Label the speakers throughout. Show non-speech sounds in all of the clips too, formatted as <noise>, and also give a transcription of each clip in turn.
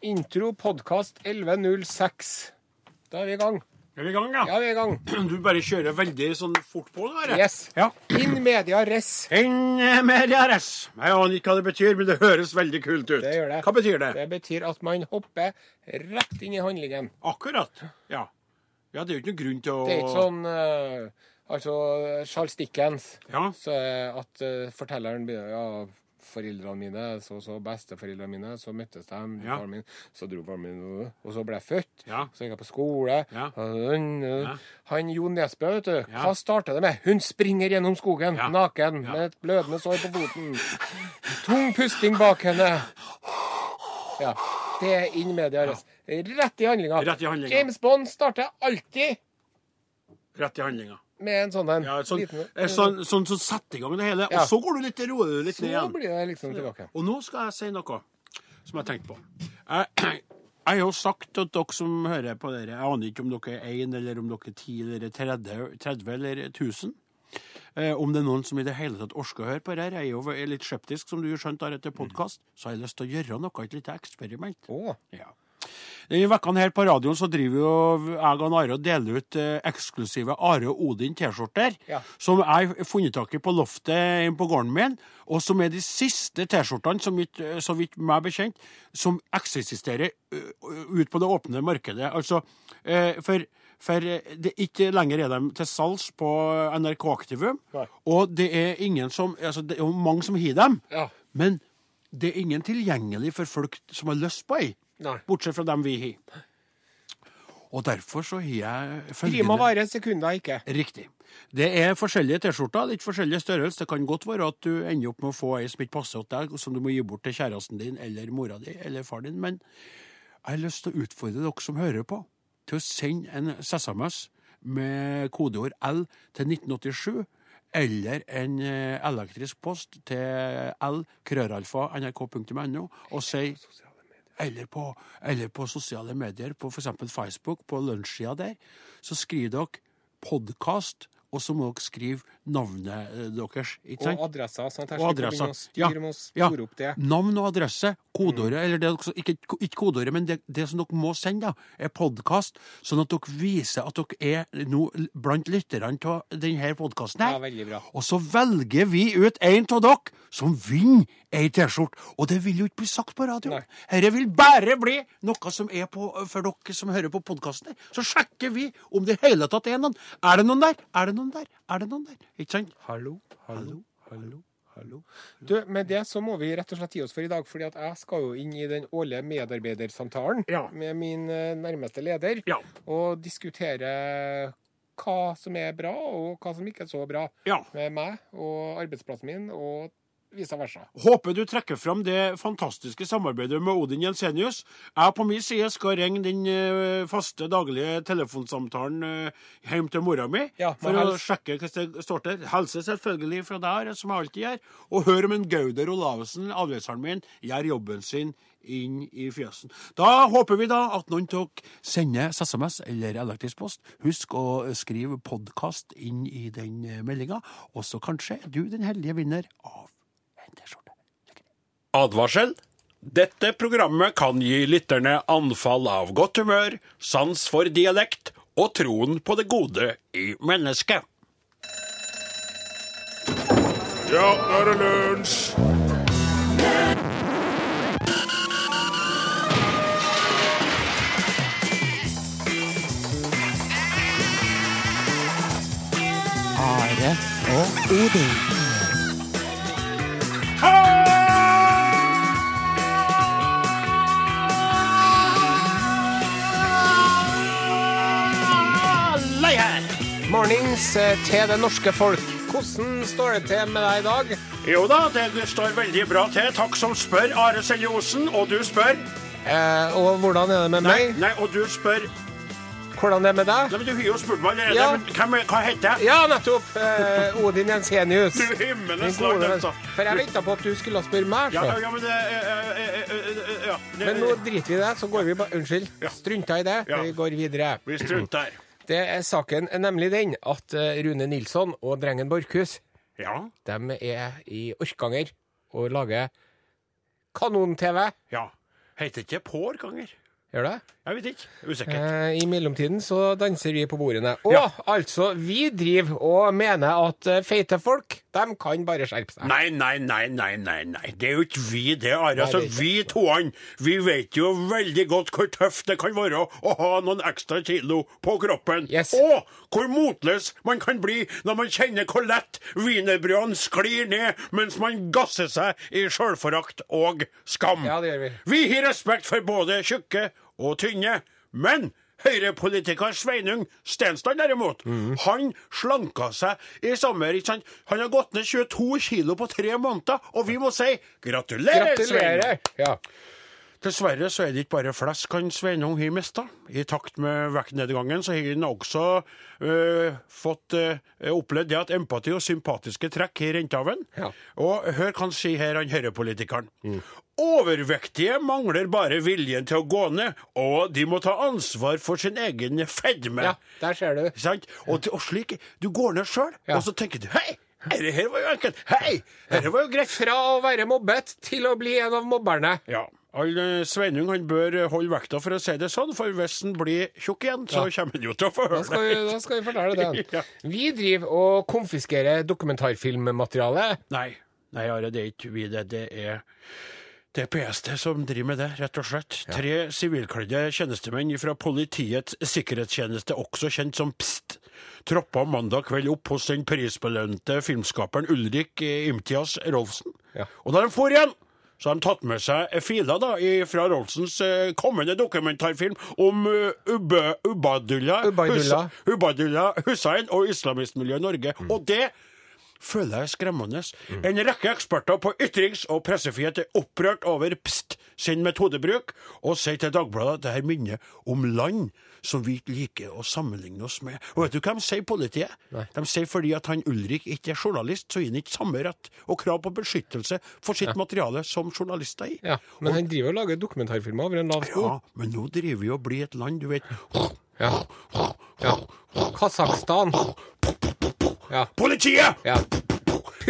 Speaker 1: Intro podkast 11.06. Da er vi i gang.
Speaker 2: Er vi i gang, ja?
Speaker 1: Ja, vi er i gang.
Speaker 2: <clears throat> Du bare kjører veldig sånn fort på det der.
Speaker 1: Yes.
Speaker 2: Ja.
Speaker 1: In media res.
Speaker 2: Enn eh, med DRS. Jeg aner ikke hva det betyr, men det høres veldig kult ut.
Speaker 1: Det gjør det.
Speaker 2: Hva betyr det?
Speaker 1: Det betyr at man hopper rett inn i handlingen.
Speaker 2: Akkurat. Ja. ja, det er jo ikke noen grunn til å
Speaker 1: Det er ikke sånn eh, Altså, Charles Dickens
Speaker 2: Ja.
Speaker 1: så er at eh, fortelleren begynner ja, foreldrene mine, så så besteforeldrene mine, så møttes de,
Speaker 2: Ja.
Speaker 1: faren min, så dro faren min, øh, og så ble jeg født,
Speaker 2: Ja.
Speaker 1: så gikk jeg på skole.
Speaker 2: Ja.
Speaker 1: Han, øh, han Jo Nesbø, vet du,
Speaker 2: Ja.
Speaker 1: hva startet det med? Hun springer gjennom skogen,
Speaker 2: Ja.
Speaker 1: naken, med et blødende sår på foten. Tung pusting bak henne. Ja, det er inn media. Ja. Rett i handlinga.
Speaker 2: Rett i handlinga.
Speaker 1: James Bond starter alltid
Speaker 2: Rett i handlinga.
Speaker 1: med en sånn en.
Speaker 2: Ja, sånn,
Speaker 1: liten-
Speaker 2: eh, sånn, sånn som setter i gang det hele.
Speaker 1: Ja.
Speaker 2: Og så går du litt, roer du litt
Speaker 1: Så
Speaker 2: ned igjen.
Speaker 1: blir det liksom tilbake.
Speaker 2: Og nå skal jeg si noe som jeg tenkte på. Jeg, <clears throat> jeg har jo sagt til dere som hører på dere, jeg aner ikke om dere er 1, eller om dere er 10, eller 30, 30 eller 1000. Eh, om det er noen som i det hele tatt orker å høre på dette, jeg er jo er litt skeptisk, som du har skjønt, etter podkast, så har jeg lyst til å gjøre noe, et lite eksperiment.
Speaker 1: Å.
Speaker 2: Ja. I vekkene her på radioen så driver jo jeg og Are og deler ut eh, eksklusive Are og Odin T-skjorter,
Speaker 1: Ja.
Speaker 2: som jeg har funnet tak i på loftet hjemme på gården min, og som er de siste T-skjortene, som vidt- eh, så vidt meg bekjent, som eksisterer ø, ø, ut på det åpne markedet. Altså, eh, for, for eh, det ikke lenger er de til salgs på NRK Aktivum,
Speaker 1: Nei.
Speaker 2: og det er ingen som, altså det er jo mange som har dem,
Speaker 1: Ja.
Speaker 2: men det er ingen tilgjengelig for folk som har lyst på ei.
Speaker 1: Nei.
Speaker 2: Bortsett fra dem vi har. Og derfor så har jeg
Speaker 1: Prima
Speaker 2: følgende
Speaker 1: vare, sekunder ikke.
Speaker 2: Riktig. Det er forskjellige T-skjorter, litt forskjellige størrelse. Det kan godt være at du ender opp med å få ei som ikke passer til deg, som du må gi bort til kjæresten din eller mora di eller far din. Men jeg har lyst til å utfordre dere som hører på, til å sende en SMS med kodeord L til 1987. Eller en eh, elektrisk post til l.krøralfa.nrk.no og si eller på, eller på sosiale medier, på f.eks. Facebook, på lunsjsida der, så skriver dere 'podkast', og så må dere skrive navnet eh, deres. ikke
Speaker 1: Og
Speaker 2: sant?
Speaker 1: adresser, sånn at jeg
Speaker 2: Og
Speaker 1: slipper å begynne å styre med å spore opp det. Mm.
Speaker 2: Navn og adresse, kodeordet, eller det, dere så- ikke, ikke kodeordet, men det, det som dere må sende, da, er podkast, sånn at dere viser at dere er nå blant lytterne av denne podkasten her.
Speaker 1: Ja, veldig bra.
Speaker 2: Og så velger vi ut en av dere som vinner ei T-skjorte. Og det vil jo ikke bli sagt på radioen.
Speaker 1: Nei.
Speaker 2: Dette vil bare bli noe som er på, for dere som hører på podkasten. Så sjekker vi om det i hele tatt er noen. Er det noen der? Er det noen der? Er det noen der? Ikke sant?
Speaker 1: Hallo,
Speaker 2: Hallo, hallo, hallo.
Speaker 1: Du, med det så må vi rett og slett gi oss for i dag, fordi at jeg skal jo inn i den årlige medarbeidersamtalen
Speaker 2: Ja.
Speaker 1: med min eh, nærmeste leder,
Speaker 2: Ja.
Speaker 1: og diskutere hva som er bra, og hva som ikke er så bra
Speaker 2: Ja.
Speaker 1: med meg og arbeidsplassen min, og vice versa.
Speaker 2: Håper du trekker fram det fantastiske samarbeidet med Odin Jensenius. Jeg på min side skal ringe den eh, faste daglige telefonsamtalen eh, hjem til mora mi
Speaker 1: Ja, med
Speaker 2: for å
Speaker 1: helse.
Speaker 2: sjekke hvordan det står til. Helse selvfølgelig fra der, som jeg alltid gjør. Og hør om en Gauder Olavsen, avløseren min, gjør jobben sin inn i fjøsen. Da håper vi da at noen av dere sender SMS eller elektrisk post. Husk å skrive 'podkast' inn i den meldinga, og så kanskje er du den heldige vinner av en T-skjorte. Advarsel. Dette programmet kan gi lytterne anfall av godt humør, sans for dialekt og troen på det gode i mennesket.
Speaker 3: Ja, nå er det lunsj!
Speaker 4: Are og Odin.
Speaker 2: Alle her!
Speaker 1: Mornings eh, til det norske folk. Hvordan står det til med deg i dag?
Speaker 2: Jo da, det står veldig bra til. Takk som spør, Are Selje Osen. Og du spør
Speaker 1: Eh, og hvordan er det med meg?
Speaker 2: Nei, og du spør Nei,
Speaker 1: Hvordan er det med deg?
Speaker 2: men Du har jo spurt meg allerede.
Speaker 1: Ja.
Speaker 2: Men hvem, er- hva heter jeg?
Speaker 1: Ja, nettopp! Eh, Odin Jensenius.
Speaker 2: Du himmelens
Speaker 1: Min
Speaker 2: land,
Speaker 1: gode venn.
Speaker 2: altså.
Speaker 1: For jeg venta på at du skulle spørre meg.
Speaker 2: Ja,
Speaker 1: så.
Speaker 2: ja, men det eh, eh, eh, eh, Ja. det-
Speaker 1: Men nå driter vi i det, så går vi bare Unnskyld,
Speaker 2: Ja.
Speaker 1: strunta i det.
Speaker 2: Ja.
Speaker 1: Vi går videre.
Speaker 2: Vi strunter.
Speaker 1: Det er saken er nemlig den at eh, Rune Nilsson og Drengen Borchhus
Speaker 2: Ja.
Speaker 1: de er i Orkanger og lager kanon-TV.
Speaker 2: Ja. Heter ikke pårganger?
Speaker 1: Gjør det?
Speaker 2: Jeg vet ikke. Usikker.
Speaker 1: Eh, I mellomtiden så danser vi på bordene. Og
Speaker 2: Ja.
Speaker 1: altså, vi driver og mener at eh, feite folk, de kan bare skjerpe seg.
Speaker 2: Nei, nei, nei, nei, nei, nei. Det er jo ikke vi det, Are. Altså,
Speaker 1: det er ikke
Speaker 2: vi toene vi vet jo veldig godt hvor tøft det kan være å ha noen ekstra kilo på kroppen.
Speaker 1: Yes.
Speaker 2: Og hvor motløs man kan bli når man kjenner hvor lett wienerbrødene sklir ned mens man gasser seg i sjølforakt og skam.
Speaker 1: Ja, det gjør vi.
Speaker 2: Vi har respekt for både tjukke og tynne, men Høyre-politiker Sveinung Stensland, derimot,
Speaker 1: Mhm.
Speaker 2: han slanka seg i sommer. ikke sant? Han har gått ned 22 kilo på tre måneder, og vi må si gratulerer, Sveinung!
Speaker 1: Gratulerer! Ja.
Speaker 2: Dessverre så er det ikke bare flesk han Sveinung har mista. I takt med vektnedgangen så har han også øh, fått øh, opplevd det at empati og sympatiske trekk har rent av ham.
Speaker 1: Ja. Mm.
Speaker 2: Og hør hva han sier her, han Høyre-politikeren. Overvektige mangler bare viljen til å gå ned, og de må ta ansvar for sin egen fedme.
Speaker 1: ja, der ser du.
Speaker 2: Ikke sant? Og, til- og slik, du går ned sjøl,
Speaker 1: Ja.
Speaker 2: og så tenker du hei, dette her var jo enkelt. Hei, dette var jo greit.
Speaker 1: Fra å være mobbet til å bli en av mobberne.
Speaker 2: Ja. All, eh, Sveinung han bør eh, holde vekta, for å si det sånn, for hvis han blir tjukk igjen, så kommer han jo til å få
Speaker 1: Da skal vi,
Speaker 2: høre det.
Speaker 1: da skal vi
Speaker 2: <laughs>
Speaker 1: fortelle det.
Speaker 2: Ja.
Speaker 1: Vi driver og konfiskerer dokumentarfilmmateriale.
Speaker 2: Nei, nei, Are, det er ikke vi det. Det er, det er PST som driver med det, rett og slett. Tre sivilkledde tjenestemenn fra Politiets sikkerhetstjeneste, også kjent som PST, troppa mandag kveld opp hos den prisbelønte filmskaperen Ulrik eh, Imtias Rolfsen.
Speaker 1: Ja.
Speaker 2: Og da de for igjen, så har de tatt med seg filer da, i- fra Rolfsens eh, kommende dokumentarfilm om eh, Ubbe, Ubadullah,
Speaker 1: Ubaydullah. Mm.
Speaker 2: Hus- Ubadullah Hussein og islamistmiljøet i Norge. Og det føler jeg er skremmende. En rekke eksperter på ytrings- og pressefrihet er opprørt over PST sin metodebruk, og sier til Dagbladet at dette minner om land som vi ikke liker å sammenligne oss med. Og vet du hva de sier politiet? De sier fordi at han Ulrik ikke er journalist, så gir han ikke samme rett og krav på beskyttelse for sitt materiale som journalister i.
Speaker 1: Ja, men han driver og lager dokumentarfilmer over en lav sko.
Speaker 2: Ja, men nå driver vi og blir et land, du vet.
Speaker 1: Ja. ja. Kasakhstan.
Speaker 2: Politiet!
Speaker 1: Ja. eh,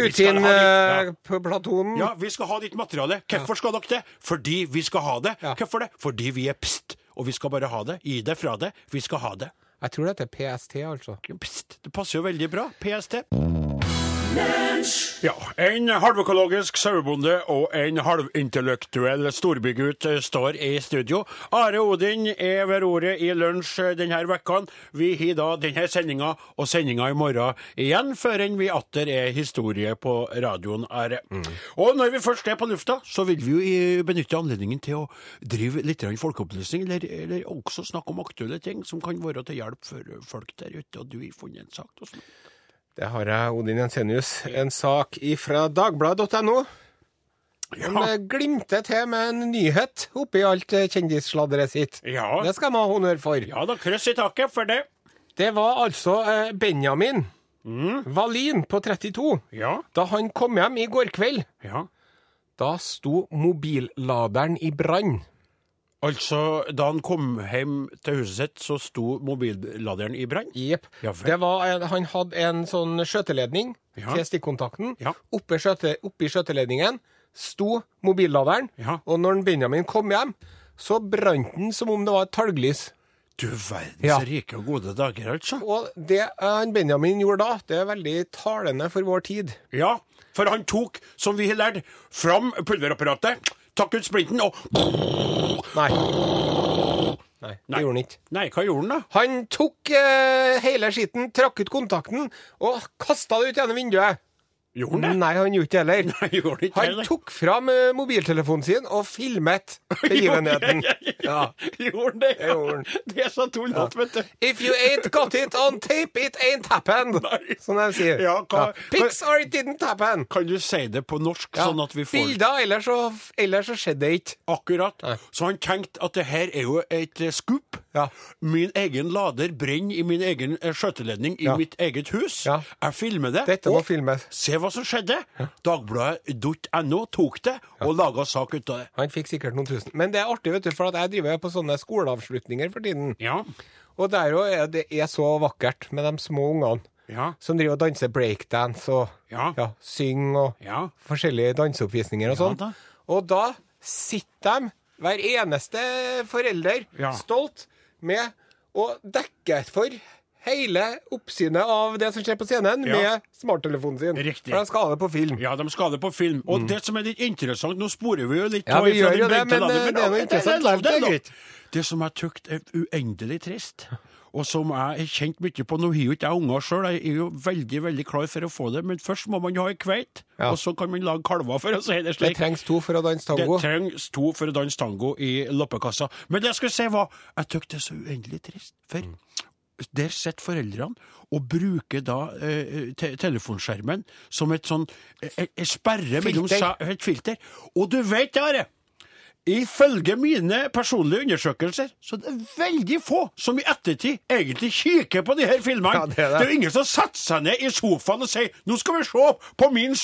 Speaker 2: Vi skal ha litt- ja.
Speaker 1: Putin-platonen.
Speaker 2: Ja, vi skal ha ditt materiale. Hvorfor skal dere det? Fordi vi skal ha det.
Speaker 1: Ja.
Speaker 2: Hvorfor det? Fordi vi er pst, og vi skal bare ha det. Gi det fra det. Vi skal ha det.
Speaker 1: Jeg tror dette er PST, altså.
Speaker 2: Pst, det passer jo veldig bra. PST. Ja, En halvøkologisk sauebonde og en halvintellektuell storbygutt eh, står i studio. Are Odin er ved roret i lunsj eh, denne vekka. Vi har da denne sendinga og sendinga i morgen igjen, før enn vi atter er historie på radioen, Are. Og når vi først er på lufta, så vil vi jo i- benytte anledningen til å drive litt grann folkeopplysning, eller, eller også snakke om aktuelle ting som kan være til hjelp for folk der ute. Og du har funnet en sak til oss nå.
Speaker 1: Det har jeg, Odin Jensenius. En sak ifra dagbladet.no.
Speaker 2: Ja.
Speaker 1: Som glimter til med en nyhet oppi alt eh, kjendissladret sitt.
Speaker 2: Ja.
Speaker 1: Det skal man ha honnør for.
Speaker 2: Ja da, kryss i taket for det.
Speaker 1: Det var altså eh, Benjamin Valin på 32.
Speaker 2: Mm. Ja,
Speaker 1: Da han kom hjem i går kveld,
Speaker 2: ja.
Speaker 1: da sto mobilladeren i brann.
Speaker 2: Altså, da han kom hjem til huset sitt, så sto mobilladeren i brann?
Speaker 1: Jepp.
Speaker 2: Ja vel.
Speaker 1: Det var en, han hadde en sånn skjøteledning
Speaker 2: Ja.
Speaker 1: til stikkontakten.
Speaker 2: Ja.
Speaker 1: Oppe skjøte, oppi skjøteledningen sto mobilladeren,
Speaker 2: Ja.
Speaker 1: og når Benjamin kom hjem, så brant den som om det var et talglys.
Speaker 2: Du verdens
Speaker 1: Ja.
Speaker 2: rike og gode dager, altså.
Speaker 1: Og det eh, han Benjamin gjorde da, det er veldig talende for vår tid.
Speaker 2: Ja, for han tok, som vi har lært, fram pulverapparatet, takk ut splinten og
Speaker 1: Nei. Nei, det gjorde han ikke.
Speaker 2: Nei, hva gjorde han da?
Speaker 1: Han tok eh, hele skitten, trakk ut kontakten og kasta det ut gjennom vinduet.
Speaker 2: Gjorde han det?
Speaker 1: Nei, han gjorde ikke heller.
Speaker 2: Nei, gjorde <laughs> han ikke
Speaker 1: Han
Speaker 2: heller.
Speaker 1: tok fram eh, mobiltelefonen sin og
Speaker 2: <laughs>
Speaker 1: filmet begivenheten. Ja.
Speaker 2: Gjorde han det?
Speaker 1: Det gjorde han.
Speaker 2: Det er så tullete, vet du.
Speaker 1: If you ain't got it on tape, it ain't happened.
Speaker 2: Nei.
Speaker 1: Som de sier.
Speaker 2: Ja, hva-
Speaker 1: Pics or it didn't happen.
Speaker 2: Kan du si det på norsk,
Speaker 1: Ja.
Speaker 2: sånn at vi får
Speaker 1: Bilder, ellers så, ellers så skjedde det ikke.
Speaker 2: Akkurat.
Speaker 1: Nei.
Speaker 2: Så han tenkte at det her er jo et eh, skup.
Speaker 1: Ja.
Speaker 2: Min egen lader brenner i min egen eh, skjøteledning i
Speaker 1: Ja.
Speaker 2: mitt eget hus.
Speaker 1: Ja.
Speaker 2: Jeg filmer det.
Speaker 1: Dette må
Speaker 2: og
Speaker 1: filmes.
Speaker 2: se hva som skjedde. Dagbladet.no tok det og laga sak ut av det.
Speaker 1: Han fikk sikkert noen tusen. Men det er artig, vet du, for at jeg driver på sånne skoleavslutninger for tiden.
Speaker 2: Ja.
Speaker 1: Og der òg er det er så vakkert med de små ungene
Speaker 2: Ja.
Speaker 1: som driver og danser breakdance og
Speaker 2: Ja.
Speaker 1: synger og
Speaker 2: Ja.
Speaker 1: forskjellige danseoppvisninger og
Speaker 2: Ja
Speaker 1: sånn.
Speaker 2: da.
Speaker 1: og da sitter de Hver eneste forelder
Speaker 2: Ja.
Speaker 1: stolt med å dekke for hele oppsynet av det som skjer på scenen,
Speaker 2: Ja.
Speaker 1: med smarttelefonen sin.
Speaker 2: Riktig.
Speaker 1: For de skal ha det på film. Mm.
Speaker 2: Ja, de skal det på film. Og det som er litt interessant Nå sporer vi jo litt
Speaker 1: Ja,
Speaker 2: av
Speaker 1: vi
Speaker 2: ifra
Speaker 1: gjør jo
Speaker 2: din
Speaker 1: det, men,
Speaker 2: bygd til landet,
Speaker 1: eh, det er jo interessant.
Speaker 2: er lov,
Speaker 1: Det er
Speaker 2: lov.
Speaker 1: greit.
Speaker 2: Det som jeg tykt er uendelig trist, og som jeg har kjent mye på Nå har jo ikke jeg unger sjøl, jeg er jo veldig veldig klar for å få det, men først må man jo ha ei kveit,
Speaker 1: Ja.
Speaker 2: og så kan man lage kalver, for å si det
Speaker 1: Det
Speaker 2: slik.
Speaker 1: trengs to for å danse tango.
Speaker 2: Det trengs to for å danse tango i loppekassa. Men det jeg skulle si var, jeg tykker det er så uendelig trist. For der sitter foreldrene og bruker da eh, te telefonskjermen som et sånn eh, eh, sperre mellom
Speaker 1: Filter.
Speaker 2: seg, et filter. Og du vet det, Are. Ifølge mine personlige undersøkelser så det er veldig få som i ettertid egentlig kikker på de her filmene.
Speaker 1: Ja, det er det.
Speaker 2: jo ingen som setter seg ned i sofaen og sier 'Nå skal vi se på min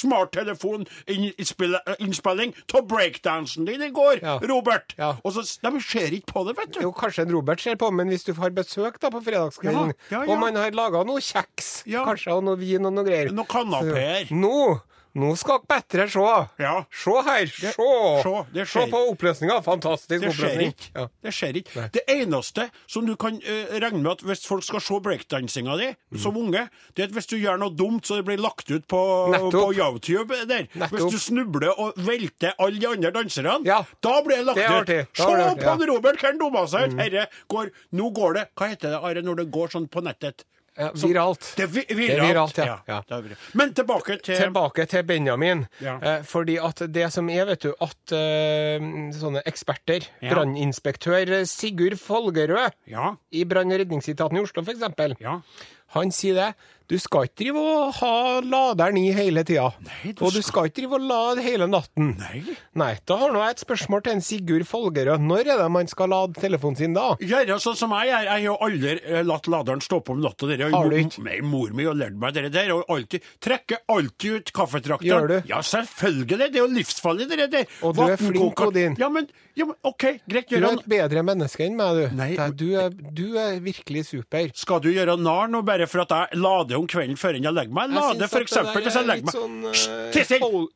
Speaker 2: smarttelefoninnspilling av breakdansen din i går,
Speaker 1: Ja.
Speaker 2: Robert'.
Speaker 1: Ja.
Speaker 2: Og så, De ser ikke på det, vet du.
Speaker 1: Jo, kanskje en Robert ser på, men hvis du har besøk da på fredagskvelden,
Speaker 2: Ja, ja, ja.
Speaker 1: og man har laga noe kjeks,
Speaker 2: Ja.
Speaker 1: kanskje, og noe vin og noe greier
Speaker 2: Noen kanapeer.
Speaker 1: Nå! Nå skal dere bedre se!
Speaker 2: Ja.
Speaker 1: Se her! Se!
Speaker 2: se, det
Speaker 1: se
Speaker 2: skjer.
Speaker 1: på oppløsninga! Fantastisk
Speaker 2: Det skjer
Speaker 1: oppløsning.
Speaker 2: ikke.
Speaker 1: Ja.
Speaker 2: Det skjer ikke. Det eneste som du kan eh, regne med at hvis folk skal se breakdansinga di
Speaker 1: Mm.
Speaker 2: som unge, det er at hvis du gjør noe dumt så det blir lagt ut på,
Speaker 1: Nettopp.
Speaker 2: på YouTube der,
Speaker 1: Nettopp.
Speaker 2: hvis du snubler og velter alle de andre danserne,
Speaker 1: Ja.
Speaker 2: da blir det lagt
Speaker 1: Det er
Speaker 2: ut.
Speaker 1: artig. Da
Speaker 2: Se
Speaker 1: blir det
Speaker 2: på
Speaker 1: artig, ja. Mm.
Speaker 2: den Robert, hvor han dumma seg ut. Herre, går, nå går det Hva heter det, Are, når det går sånn på nettet?
Speaker 1: Ja,
Speaker 2: Så-
Speaker 1: viralt.
Speaker 2: Det er vi- viralt.
Speaker 1: er viralt, ja. Ja.
Speaker 2: det er viralt. Men tilbake til
Speaker 1: Tilbake til Benjamin.
Speaker 2: Ja.
Speaker 1: Eh, fordi at det som er, vet du, at eh, sånne eksperter,
Speaker 2: Ja.
Speaker 1: branninspektør Sigurd Folgerød
Speaker 2: Ja.
Speaker 1: i brann- og redningsetaten i Oslo, f.eks.,
Speaker 2: Ja.
Speaker 1: han sier det. Du skal ikke drive og ha laderen i hele tida.
Speaker 2: Nei, du
Speaker 1: og du skal ikke drive og lade hele natten.
Speaker 2: Nei.
Speaker 1: Nei, da har nå jeg et spørsmål til en Sigurd Folgerød. Når er det man skal lade telefonen sin da?
Speaker 2: Gjør jeg sånn som jeg gjør. Jeg har jo aldri eh, latt laderen stå på om natta. dere.
Speaker 1: Har du
Speaker 2: Mor-
Speaker 1: ikke?
Speaker 2: Nei, Mor mi har lært meg det der. Og alltid, trekker alltid ut kaffetrakteren.
Speaker 1: Gjør du?
Speaker 2: Ja, selvfølgelig. Det er jo livsfarlig, det der.
Speaker 1: Og du er flink,
Speaker 2: Vatnkoker-
Speaker 1: Odin.
Speaker 2: Ja, men, ja, men OK, greit.
Speaker 1: Du
Speaker 2: Gjør
Speaker 1: er
Speaker 2: han
Speaker 1: et bedre menneske enn meg, du.
Speaker 2: Nei,
Speaker 1: Det er- du, er, du er virkelig super.
Speaker 2: skal du gjøre narr nå bare for at jeg lader om kvelden før jeg legger meg? Lade
Speaker 1: syns at
Speaker 2: for eksempel
Speaker 1: det
Speaker 2: hvis
Speaker 1: der
Speaker 2: jeg
Speaker 1: er
Speaker 2: legger meg
Speaker 1: litt sånn, eh,
Speaker 2: Hysj, tiss inn!
Speaker 1: hold-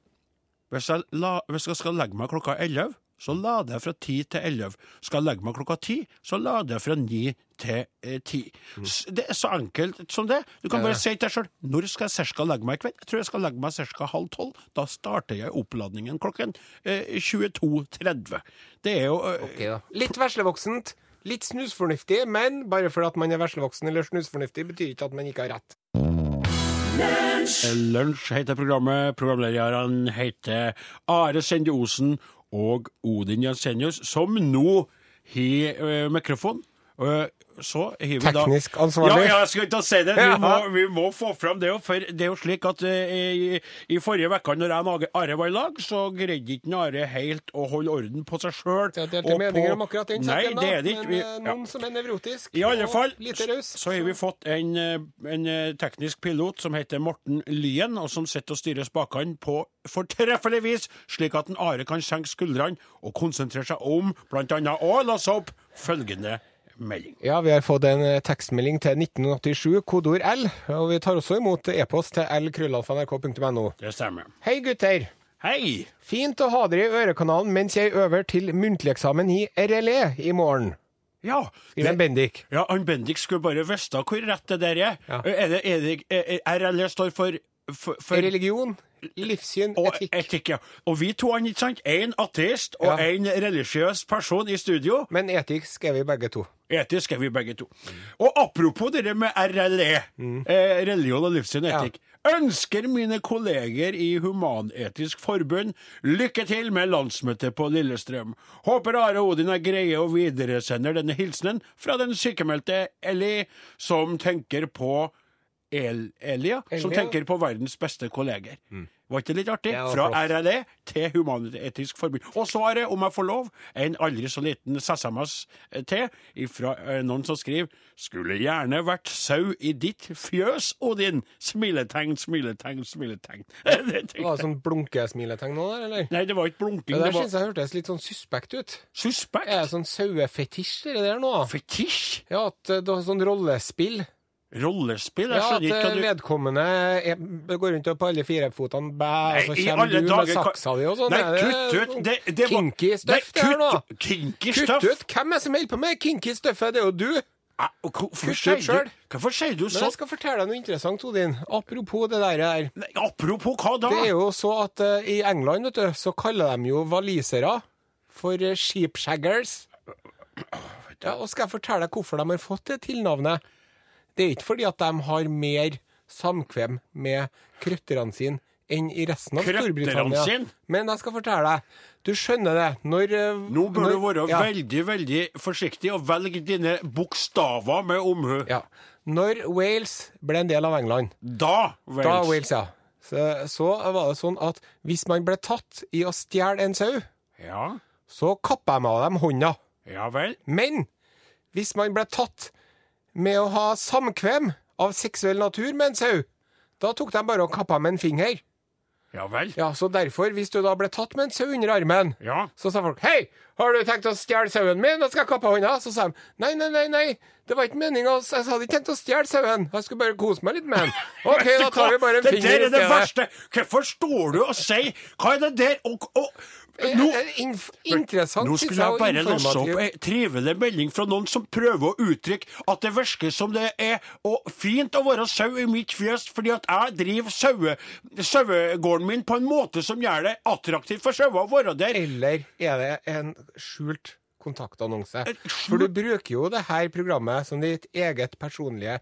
Speaker 2: Hvis jeg, la, hvis jeg skal legge meg klokka 11, så lader jeg fra 10 til 11. Skal jeg legge meg klokka 10, så lader jeg fra 9 til eh, 10. S- Det er så enkelt som det. Du kan bare si til deg sjøl når skal jeg cirka legge meg i kveld. Jeg tror jeg skal legge meg cirka halv tolv. Da starter jeg oppladningen klokken eh, 22.30. Det er jo eh,
Speaker 1: Litt veslevoksent, litt snusfornuftig, men bare fordi at man er veslevoksen eller snusfornuftig, betyr ikke at man ikke har rett.
Speaker 2: Lunsj heter programmet. Programlederne heter Are Sende Osen og Odin Jensenius, som nå har eh, mikrofon. Eh, så har vi da
Speaker 1: Teknisk ansvarlig.
Speaker 2: Ja, ja, jeg skal ikke si det. Vi
Speaker 1: Ja.
Speaker 2: må, vi må få fram det. jo, For det er jo slik at eh, i, i forrige uke, når jeg og Age- Are var i lag, så greide ikke Are helt å holde orden på seg sjøl.
Speaker 1: Det er delte meninger om akkurat den
Speaker 2: Nei,
Speaker 1: saken, da,
Speaker 2: det er det ikke.
Speaker 1: men
Speaker 2: Vi-
Speaker 1: eh,
Speaker 2: ja.
Speaker 1: noen som er nevrotisk
Speaker 2: I alle fall
Speaker 1: og lite raus.
Speaker 2: så har vi fått en, eh, en eh, teknisk pilot som heter Morten Lyen, og som sitter og styrer spakene på fortreffelig vis, slik at en Are kan senke skuldrene og konsentrere seg om bl.a. å lese opp følgende melding.
Speaker 1: Ja, vi har fått en eh, tekstmelding til 1987, kodeord L, og vi tar også imot e-post til lkrøllalfa.nrk.no.
Speaker 2: Det stemmer.
Speaker 1: Hei, gutter!
Speaker 2: Hei!
Speaker 1: Fint å ha dere i ørekanalen mens jeg øver til muntlig eksamen i RLE i morgen.
Speaker 2: Ja,
Speaker 1: Skriver en
Speaker 2: det,
Speaker 1: Bendik.
Speaker 2: ja han Bendik skulle bare visst da hvor rett det der er. Eh,
Speaker 1: Ja.
Speaker 2: Er det, er det, er, er RLE står for, for, for
Speaker 1: Religion, livssyn,
Speaker 2: Og
Speaker 1: etikk.
Speaker 2: etikk, ja. Og vi to, han, ikke sant? En ateist og
Speaker 1: Ja.
Speaker 2: en religiøs person i studio.
Speaker 1: Men etisk er vi begge to.
Speaker 2: Etisk er vi begge to. Og apropos det der med RLE, eh, religion og livssyn og etikk. Ønsker mine kolleger i Human-Etisk Forbund lykke til med landsmøtet på Lillestrøm. Håper Are Odin er greie og videresender denne hilsenen fra den sykemeldte Eli, som tenker på El Elia, som
Speaker 1: Elia?
Speaker 2: tenker på verdens beste kolleger. Var ikke det litt artig?
Speaker 1: Det var
Speaker 2: Fra
Speaker 1: flott.
Speaker 2: RLE E til Human-Etisk Forbund. Og så er det, om jeg får lov, en aldri så liten SMS til fra noen som skriver Skulle gjerne vært sau i ditt fjøs, Odin. Smiletegn, smiletegn, smiletegn. <laughs> det tenkte
Speaker 1: Var det
Speaker 2: jeg.
Speaker 1: sånn blunkesmiletegn nå der, eller?
Speaker 2: Nei, det var ikke blunking,
Speaker 1: Det
Speaker 2: det
Speaker 1: der
Speaker 2: var
Speaker 1: syns jeg hørtes litt sånn suspekt ut.
Speaker 2: suspekt.
Speaker 1: Er det sånn sauefetisj, det der nå?
Speaker 2: Fetisj?
Speaker 1: Ja, at eh, det er sånn rollespill.
Speaker 2: Rollespill? Jeg
Speaker 1: Ja, at
Speaker 2: skjønner ikke
Speaker 1: eh,
Speaker 2: hva du
Speaker 1: vedkommende er, går rundt på alle firefotene, bæ, og så
Speaker 2: Nei, i
Speaker 1: kommer altså, du
Speaker 2: alle
Speaker 1: med
Speaker 2: dager, hva-
Speaker 1: saksa di og sånn.
Speaker 2: Nei,
Speaker 1: Er det
Speaker 2: kutt ut! Det, det var-
Speaker 1: kinky stuff,
Speaker 2: Nei,
Speaker 1: det her nå.
Speaker 2: kutt- Kinky
Speaker 1: Kutt
Speaker 2: stuff?
Speaker 1: ut! Hvem er det som holder på med kinky stuffet? Det er jo du!
Speaker 2: Ja, og Hvorfor
Speaker 1: Kutt
Speaker 2: sier
Speaker 1: ut
Speaker 2: du,
Speaker 1: selv.
Speaker 2: hvorfor sier du
Speaker 1: Men
Speaker 2: sånn?
Speaker 1: jeg skal fortelle deg noe interessant, Odin. Apropos det der. der.
Speaker 2: Nei, Apropos hva da?
Speaker 1: Det er jo så at eh, i England, vet du, så kaller de jo walisere for eh, sheepshaggers. Ja, og skal jeg fortelle deg hvorfor de har fått det tilnavnet? Det er ikke fordi at de har mer samkvem med krøtterne sine enn i resten av
Speaker 2: Krøtterne
Speaker 1: Storbritannia.
Speaker 2: sin?
Speaker 1: Men jeg skal fortelle deg. Du skjønner det. Når eh,
Speaker 2: Nå bør
Speaker 1: når-
Speaker 2: du være
Speaker 1: ja.
Speaker 2: veldig veldig forsiktig og velge dine bokstaver med omhu.
Speaker 1: Ja. Når Wales ble en del av England,
Speaker 2: Da, Wales.
Speaker 1: da Wales, ja, så, så var det sånn at hvis man ble tatt i å stjele en sau,
Speaker 2: Ja,
Speaker 1: så kappa jeg meg av dem hånda.
Speaker 2: ja vel.
Speaker 1: Men hvis man ble tatt med å ha samkvem av seksuell natur med en sau, da tok de bare og kappa med en finger.
Speaker 2: Ja vel.
Speaker 1: Ja, Så derfor, hvis du da ble tatt med en sau under armen,
Speaker 2: Ja.
Speaker 1: så sa folk 'Hei, har du tenkt å stjele sauen min? Jeg skal kappe hånda.' Så sa de 'Nei, nei, nei, nei, det var ikke meninga. Jeg hadde ikke tenkt å stjele sauen. Jeg skulle bare kose meg litt med
Speaker 2: <laughs>
Speaker 1: den.' 'OK,
Speaker 2: Vet du
Speaker 1: da tar vi
Speaker 2: hva?
Speaker 1: bare en
Speaker 2: det
Speaker 1: finger
Speaker 2: der
Speaker 1: i
Speaker 2: er det
Speaker 1: stedet.»
Speaker 2: verste! Hvorfor står du og sier Hva er det der? Og, og nå,
Speaker 1: Eh, eh, inf interessant
Speaker 2: nå
Speaker 1: synes
Speaker 2: skulle jeg
Speaker 1: og
Speaker 2: bare lese opp
Speaker 1: informativt.
Speaker 2: ei trivelig melding fra noen som prøver å uttrykke at det virker som det er og fint å være sau i mitt fjes, fordi at jeg driver saue- sauegården min på en måte som gjør det attraktivt for sauer å være der.
Speaker 1: Eller er det en skjult kontaktannonse?
Speaker 2: Et skjult-
Speaker 1: For du bruker jo det her programmet som ditt eget personlige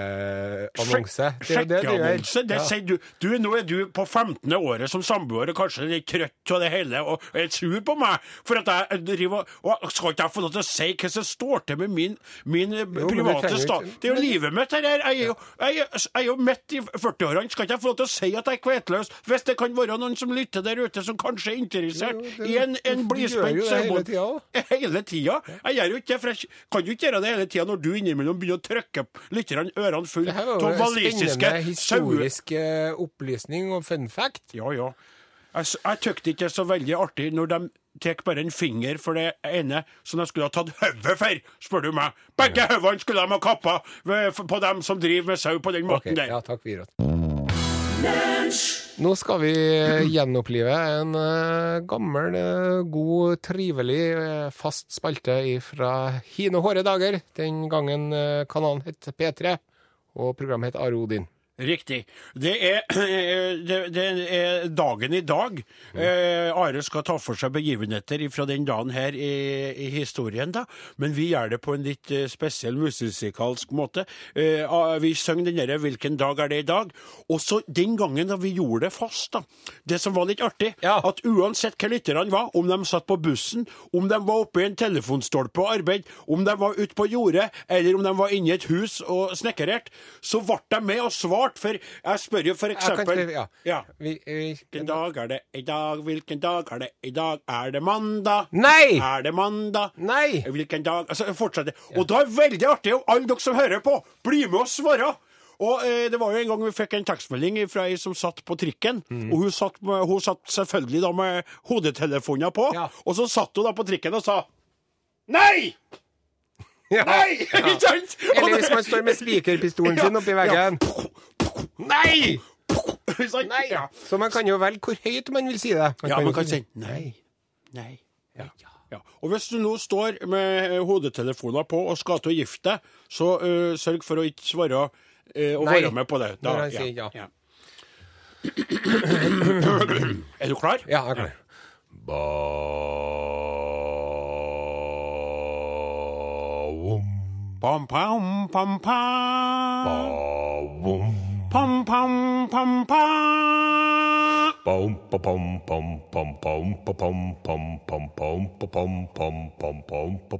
Speaker 1: sjekkeannonse. Det er jo det du gjør.
Speaker 2: Sjekkeannonse, det
Speaker 1: Ja.
Speaker 2: sier du. du. Nå er du på 15. året som samboer og kanskje litt trøtt av det hele og er litt sur på meg. For at jeg driver og- og Skal ikke jeg få lov til å si hva som står til med min, min eh,
Speaker 1: men du
Speaker 2: private
Speaker 1: trenger jo
Speaker 2: stat?
Speaker 1: ikke-
Speaker 2: Det er jo livet mitt, dette her. Jeg er jo, jeg, er- jeg er jo midt i 40-årene. Skal ikke jeg få lov til å si at jeg er kvetløs? Hvis det kan være noen som lytter der ute, som kanskje er interessert
Speaker 1: Jo, jo, det-
Speaker 2: i en,
Speaker 1: du gjør
Speaker 2: en blidspent
Speaker 1: jo det hele
Speaker 2: sauebonde.
Speaker 1: tida også.
Speaker 2: Hele tida? Jeg gjør jo ikke det, for jeg kj- kan jo ikke gjøre det hele tida når du innimellom begynner å trykke opp litt grann ørene fulle
Speaker 1: Det her
Speaker 2: av
Speaker 1: var jo en
Speaker 2: walisiske
Speaker 1: spennende
Speaker 2: sauer.
Speaker 1: historisk eh, opplysning og fun fact.
Speaker 2: Ja, ja. Jeg, s- jeg tykte ikke det er så veldig artig når de tar bare en finger for det ene som de skulle ha tatt hodet for, spør du meg. Begge hodene skulle de ha kappa ved- f- på dem som driver med sau på den
Speaker 1: Ok,
Speaker 2: måten der.
Speaker 1: ja, takk, Virat. Nå skal vi gjenopplive en eh, gammel, eh, god, trivelig, eh, fast spalte fra hine hårde dager. Den gangen eh, kanalen het P3, og programmet het Are Odin.
Speaker 2: Riktig. Det er, <clears throat> det, det er dagen i dag. Eh, Are skal ta for seg begivenheter fra den dagen her i, i historien, da. Men vi gjør det på en litt eh, spesiell musikalsk måte. Eh, ah, vi synger den derre 'Hvilken dag er det i dag?' Også den gangen da vi gjorde det fast, da. Det som var litt artig,
Speaker 1: Ja.
Speaker 2: at uansett hva lytterne var, om de satt på bussen, om de var oppe i en telefonstolpe og arbeid, om de var ute på jordet, eller om de var inne i et hus og snekkerert, så ble de med og svarte, for jeg spør jo for
Speaker 1: Jeg kan
Speaker 2: eksempel
Speaker 1: ikke- ja.
Speaker 2: Ja.
Speaker 1: Vi, vi,
Speaker 2: Hvilken dag er det i dag, hvilken dag er det i dag, er det mandag?
Speaker 1: Nei!
Speaker 2: Er det mandag?
Speaker 1: Nei!
Speaker 2: Hvilken dag Altså, fortsett. Og da er det veldig artig om alle dere som hører på, blir med og svarer. Og eh, det var jo en gang vi fikk en tekstmelding fra ei som satt på trikken.
Speaker 1: Mm.
Speaker 2: Og hun satt, med, hun satt selvfølgelig da med hodetelefoner på.
Speaker 1: Ja.
Speaker 2: Og så satt hun da på trikken og sa Nei!
Speaker 1: Ja.
Speaker 2: Nei! <laughs> Ikke sant? Og
Speaker 1: Eller
Speaker 2: det-
Speaker 1: hvis man står med spikerpistolen sin oppi
Speaker 2: Ja.
Speaker 1: veggen. Nei!
Speaker 2: <laughs> Ikke sant?
Speaker 1: Nei!
Speaker 2: Ja.
Speaker 1: Så man kan jo velge hvor høyt man vil si det.
Speaker 2: Ja, man
Speaker 1: jo
Speaker 2: kan
Speaker 1: ikke-
Speaker 2: si nei, nei. Ja. Ja. Og hvis du nå står med eh, hodetelefoner på og skal til å gifte deg, så eh, sørg for å ikke svare eh, og
Speaker 1: Nei,
Speaker 2: være med på det.
Speaker 1: når han sier ja.
Speaker 2: <clears throat> Er du klar?
Speaker 1: Ja, jeg er klar.
Speaker 2: Pam, pam, pam, pam. Pam, pam, pam, pam.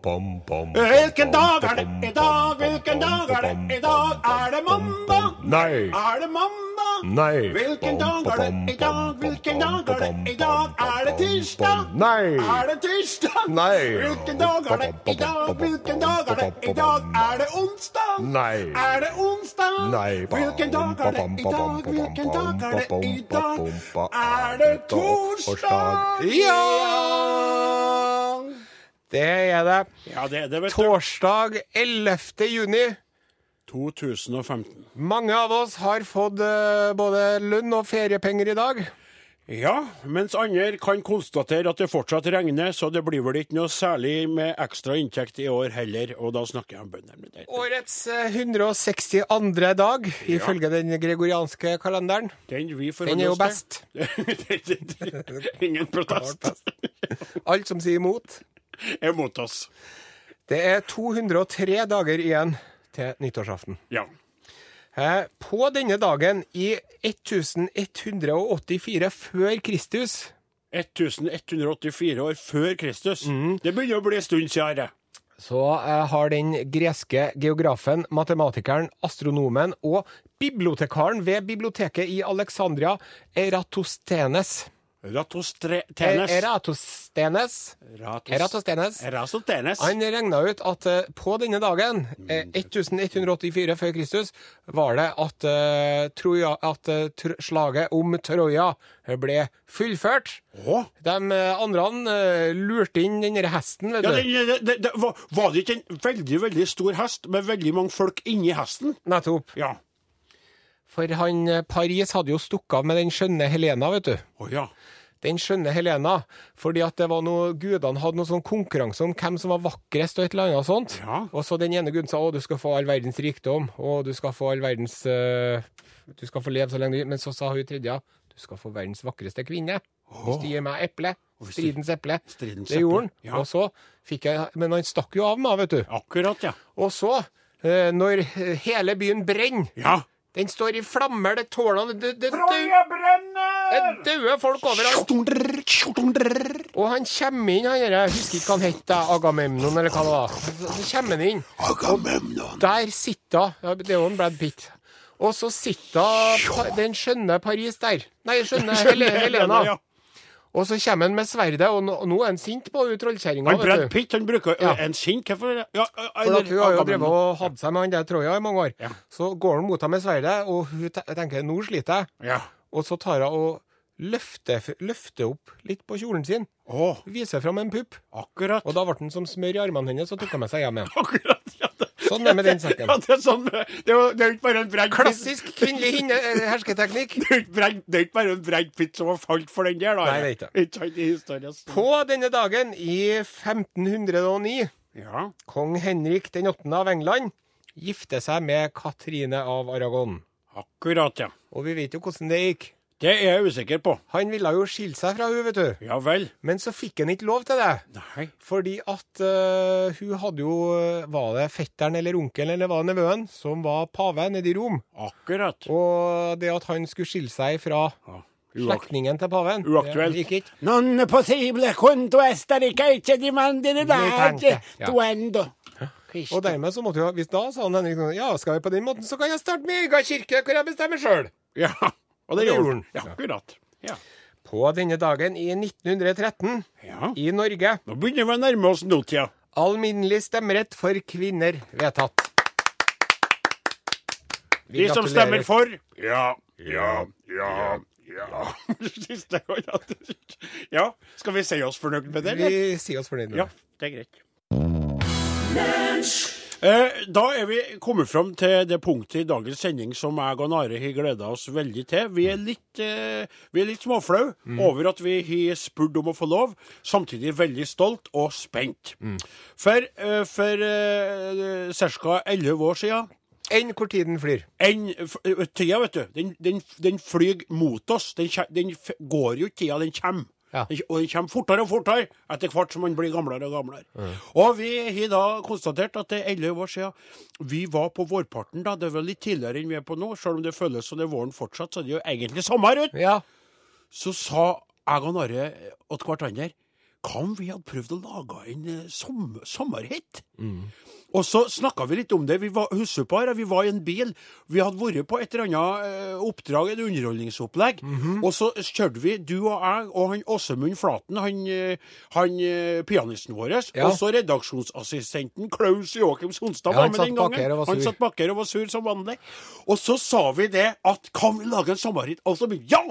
Speaker 2: Hvilken dag er det i dag? Hvilken dag er det i dag? Er det mandag?
Speaker 3: Nei.
Speaker 2: Er det mandag?
Speaker 3: Nei.
Speaker 2: Hvilken dag er det i dag? Hvilken dag er det i dag? Er det tirsdag?
Speaker 3: Nei.
Speaker 2: Er det tirsdag?
Speaker 3: Nei.
Speaker 2: Hvilken dag er det i dag? Hvilken dag er det i dag? Er det onsdag?
Speaker 3: Nei.
Speaker 2: Er det onsdag?
Speaker 3: Nei.
Speaker 2: Hvilken dag er det i dag? Hvilken dag er det i dag? Er det torsdag?
Speaker 1: Ja! Det er det.
Speaker 2: Ja, det er det, vet
Speaker 1: Torsdag 11. juni
Speaker 2: 2015.
Speaker 1: Mange av oss har fått eh, både lønn og feriepenger i dag.
Speaker 2: Ja, mens andre kan konstatere at det fortsatt regner, så det blir vel ikke noe særlig med ekstra inntekt i år heller, og da snakker jeg om bøndene. Det-
Speaker 1: Årets eh, 162. dag, ifølge den gregorianske kalenderen.
Speaker 2: Den vi forholder
Speaker 1: Den er jo
Speaker 2: <laughs> oss
Speaker 1: best.
Speaker 2: til. Ingen protest.
Speaker 1: Alt som sier imot.
Speaker 2: Er mot oss.
Speaker 1: Det er 203 dager igjen til nyttårsaften.
Speaker 2: Ja.
Speaker 1: Eh, På denne dagen i 1184 før Kristus
Speaker 2: 1184 år før Kristus.
Speaker 1: Mhm.
Speaker 2: Det begynner å bli en stund siden. det.
Speaker 1: så eh, har den greske geografen, matematikeren, astronomen og bibliotekaren ved biblioteket i Alexandria, Eratostenes Eh,
Speaker 2: Ratostenes.
Speaker 1: Eratostenes Eratostenes.
Speaker 2: Ratostenes.
Speaker 1: Han regna ut at eh, på denne dagen, eh,
Speaker 2: Mm.
Speaker 1: 1184 før Kristus, var det at, eh, Troja, at eh, tr slaget om Troja ble fullført.
Speaker 2: Å?
Speaker 1: De eh, andre eh, lurte inn den der hesten, vet
Speaker 2: Ja,
Speaker 1: du.
Speaker 2: det, det, det, var, var det ikke en veldig, veldig stor hest med veldig mange folk inni hesten?
Speaker 1: Nettopp.
Speaker 2: Ja.
Speaker 1: For han eh, Paris hadde jo stukket av med den skjønne Helena, vet du.
Speaker 2: Å ja.
Speaker 1: Den skjønne Helena. Fordi at det var noe, gudene hadde noe sånn konkurranse om hvem som var vakrest og et eller annet sånt.
Speaker 2: Ja.
Speaker 1: Og så den ene guden sa å, du skal få all verdens rikdom, å, du skal få all verdens eh, Du skal få leve så lenge du vil. Men så sa hun tredje, du skal få verdens vakreste kvinne. Hvis du gir meg eple.
Speaker 2: hvis du-
Speaker 1: Stridens eple.
Speaker 2: Stridens
Speaker 1: det gjorde han.
Speaker 2: eple, ja.
Speaker 1: Og så fikk jeg Men han stakk jo av meg, vet du.
Speaker 2: Akkurat, ja.
Speaker 1: Og så, eh, når hele byen brenner
Speaker 2: Ja.
Speaker 1: Den står i flammer, det tårner det, det, det, det, det er døde folk overalt. Og han kommer inn, han der, jeg husker ikke hva han het, jeg, Agamemnon eller hva det var. Så- Så kommer han inn.
Speaker 2: Agamemnon.
Speaker 1: Der sitter ja, Det er jo en Brad Pitt. Og så sitter pa- den skjønne Paris der. Nei, skjønne Hele- Helena.
Speaker 2: Ja.
Speaker 1: Og så kommer han med sverdet, og nå, nå er han sint på hun trollkjerringa.
Speaker 2: Han
Speaker 1: vet
Speaker 2: Brad
Speaker 1: du.
Speaker 2: Pitt han bruker
Speaker 1: Ja.
Speaker 2: en sint Hvorfor ja,
Speaker 1: For at hun har jo
Speaker 2: Agamemnon.
Speaker 1: drevet og hatt seg med han der Troja i mange år.
Speaker 2: Ja.
Speaker 1: Så går han mot henne med sverdet, og hun te- tenker 'nå sliter jeg'.
Speaker 2: Ja.
Speaker 1: Og så tar hun og løfter, løfter opp litt på kjolen sin.
Speaker 2: Å,
Speaker 1: Viser fram en pupp.
Speaker 2: akkurat.
Speaker 1: Og da ble den som smør i armene hennes, og tok hun med seg hjem igjen.
Speaker 2: Akkurat, ja. det-
Speaker 1: Sånn er det med den saken.
Speaker 2: Ja, det er sånn med- Det er jo det er jo ikke bare en Brad Pitt-
Speaker 1: Klassisk kvinnelig hinne, eh, hersketeknikk.
Speaker 2: <laughs> Det er jo ikke Brad- det er ikke bare en Brad Pitt som har falt for den der, da.
Speaker 1: Nei, det er ikke
Speaker 2: Ikke sant, i historien.
Speaker 1: På denne dagen i 1509,
Speaker 2: Ja.
Speaker 1: kong Henrik den 8. av England gifter seg med Katrine av Aragon.
Speaker 2: Akkurat, ja.
Speaker 1: Og vi vet jo hvordan det gikk.
Speaker 2: Det er jeg usikker på.
Speaker 1: Han ville jo skille seg fra hun, vet du.
Speaker 2: Ja vel.
Speaker 1: Men så fikk han ikke lov til det.
Speaker 2: Nei.
Speaker 1: Fordi at eh, hun hadde jo eh, Var det fetteren eller onkelen eller var det nevøen som var pave nede i Rom?
Speaker 2: Akkurat.
Speaker 1: Og det at han skulle skille seg fra
Speaker 2: Ja. Uak-
Speaker 1: slektningen til paven,
Speaker 2: Uaktuelt.
Speaker 1: det gikk ikke.
Speaker 2: Non possible conto esta ricaccia di
Speaker 1: tanke,
Speaker 2: mandinerate
Speaker 1: ja.
Speaker 2: tuendo.
Speaker 1: Og dermed så måtte jo, hvis da sa han Henrik sånn, ja, skal vi på den måten, så kan jeg starte min egen kirke, hvor jeg bestemmer sjøl.
Speaker 2: Ja, og det
Speaker 1: det
Speaker 2: gjorde
Speaker 1: gjorde
Speaker 2: han.
Speaker 1: han.
Speaker 2: Ja, akkurat. Ja.
Speaker 1: På denne dagen i 1913
Speaker 2: ja.
Speaker 1: i Norge
Speaker 2: Nå begynner vi å nærme oss nåtida.
Speaker 1: alminnelig stemmerett for kvinner vedtatt. Vi
Speaker 2: De som
Speaker 1: gratulerer.
Speaker 2: stemmer for
Speaker 3: Ja, ja, ja, ja.
Speaker 2: <laughs> Siste gang at- Ja, skal vi si oss fornøyd med det, eller?
Speaker 1: Vi sier oss fornøyd med
Speaker 2: Ja,
Speaker 1: det.
Speaker 2: det er greit. Eh, Da er vi kommet fram til det punktet i dagens sending som jeg og Nare har gleda oss veldig til. Vi er litt, eh, vi er litt småflau
Speaker 3: Mm.
Speaker 2: over at vi har spurt om å få lov, samtidig veldig stolt og spent.
Speaker 3: Mm.
Speaker 2: For, eh, for eh, ca. elleve år siden
Speaker 1: Enn hvor tiden flyr.
Speaker 2: enn f- ø, Tida, vet du, den, den, den flyr mot oss. Den, kje- den f- går jo ikke tida, den kommer.
Speaker 1: Ja.
Speaker 2: Den, og den kommer fortere og fortere etter hvert som man blir gamlere og gamlere. Og vi har da konstatert at det er elleve år siden vi var på vårparten. da, Det var litt tidligere enn vi er på nå, selv om det føles som det er våren fortsatt. Så det er jo egentlig sommer ute.
Speaker 1: Ja.
Speaker 2: Så sa jeg og Narre til hverandre hva om vi hadde prøvd å lage en eh, som, sommerhit?
Speaker 1: Mm.
Speaker 2: Og så snakka vi litt om det. Vi var hussepar, og vi var i en bil. Vi hadde vært på et eller annet eh, oppdrag, et underholdningsopplegg.
Speaker 1: Mhm.
Speaker 2: Og så kjørte vi, du og jeg og han Åsemund Flaten, han, eh, han eh, pianisten vår,
Speaker 1: Ja.
Speaker 2: og så redaksjonsassistenten Klaus Joakim Sonstad
Speaker 1: Ja,
Speaker 2: var
Speaker 1: han
Speaker 2: med
Speaker 1: satt
Speaker 2: den
Speaker 1: bak
Speaker 2: gangen.
Speaker 1: her og var
Speaker 2: Han
Speaker 1: sur.
Speaker 2: satt bakker og var sur som vanlig. Og så sa vi det at kan vi lage en sommerhit? Og så begynte ja!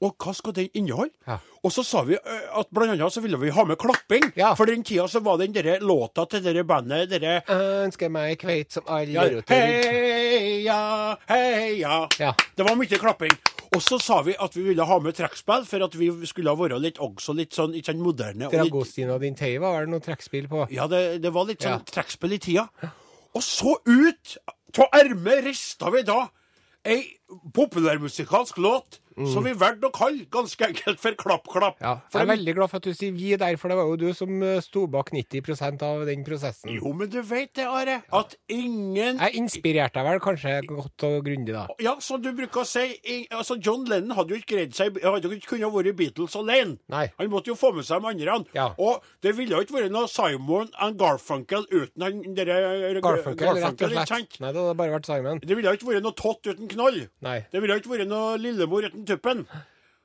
Speaker 2: Og hva skal den inneholde?
Speaker 1: Ja.
Speaker 2: Og så sa vi eh, at blant annet så ville vi ha med klapping.
Speaker 1: Ja.
Speaker 2: For den tida så var den derre låta til det bandet derre
Speaker 1: Ønsker meg kveit som alle
Speaker 2: ja,
Speaker 1: roter.
Speaker 2: Heia, heia.
Speaker 1: Ja.
Speaker 2: Det var mye klapping. Og så sa vi at vi ville ha med trekkspill, for at vi skulle være litt også litt sånn ikke sant, moderne. og litt,
Speaker 1: Dragostina din Tei, var det noe trekkspill på?
Speaker 2: ja, det, det var litt sånn
Speaker 1: Ja.
Speaker 2: trekkspill i tida. Og så ut av ermet rista vi da ei populærmusikalsk låt som vi valgte å kalle ganske enkelt for Klapp Klapp.
Speaker 1: Ja,
Speaker 2: For
Speaker 1: jeg er
Speaker 2: det-
Speaker 1: veldig glad for at du sier vi der, for det var jo du som eh, sto bak 90 av den prosessen.
Speaker 2: Jo, men du veit det, Are, at ingen
Speaker 1: Jeg inspirerte deg vel kanskje godt og grundig, da.
Speaker 2: Ja, som du bruker å si, i- altså John Lennon hadde jo ikke greid seg Hadde jo ikke kunnet være Beatles alene.
Speaker 1: Nei.
Speaker 2: Han måtte jo få med seg de andre.
Speaker 1: Ja.
Speaker 2: Og det ville jo ikke vært noe Simon and Garfunkel uten han derre
Speaker 1: Garfunkel, rett og
Speaker 2: ikke sant?
Speaker 1: slett. Nei, det hadde bare vært Simon.
Speaker 2: Det ville jo ikke vært noe Tott uten Knoll.
Speaker 1: Nei.
Speaker 2: Det ville jo ikke vært noe Lillemor uten Tuppen.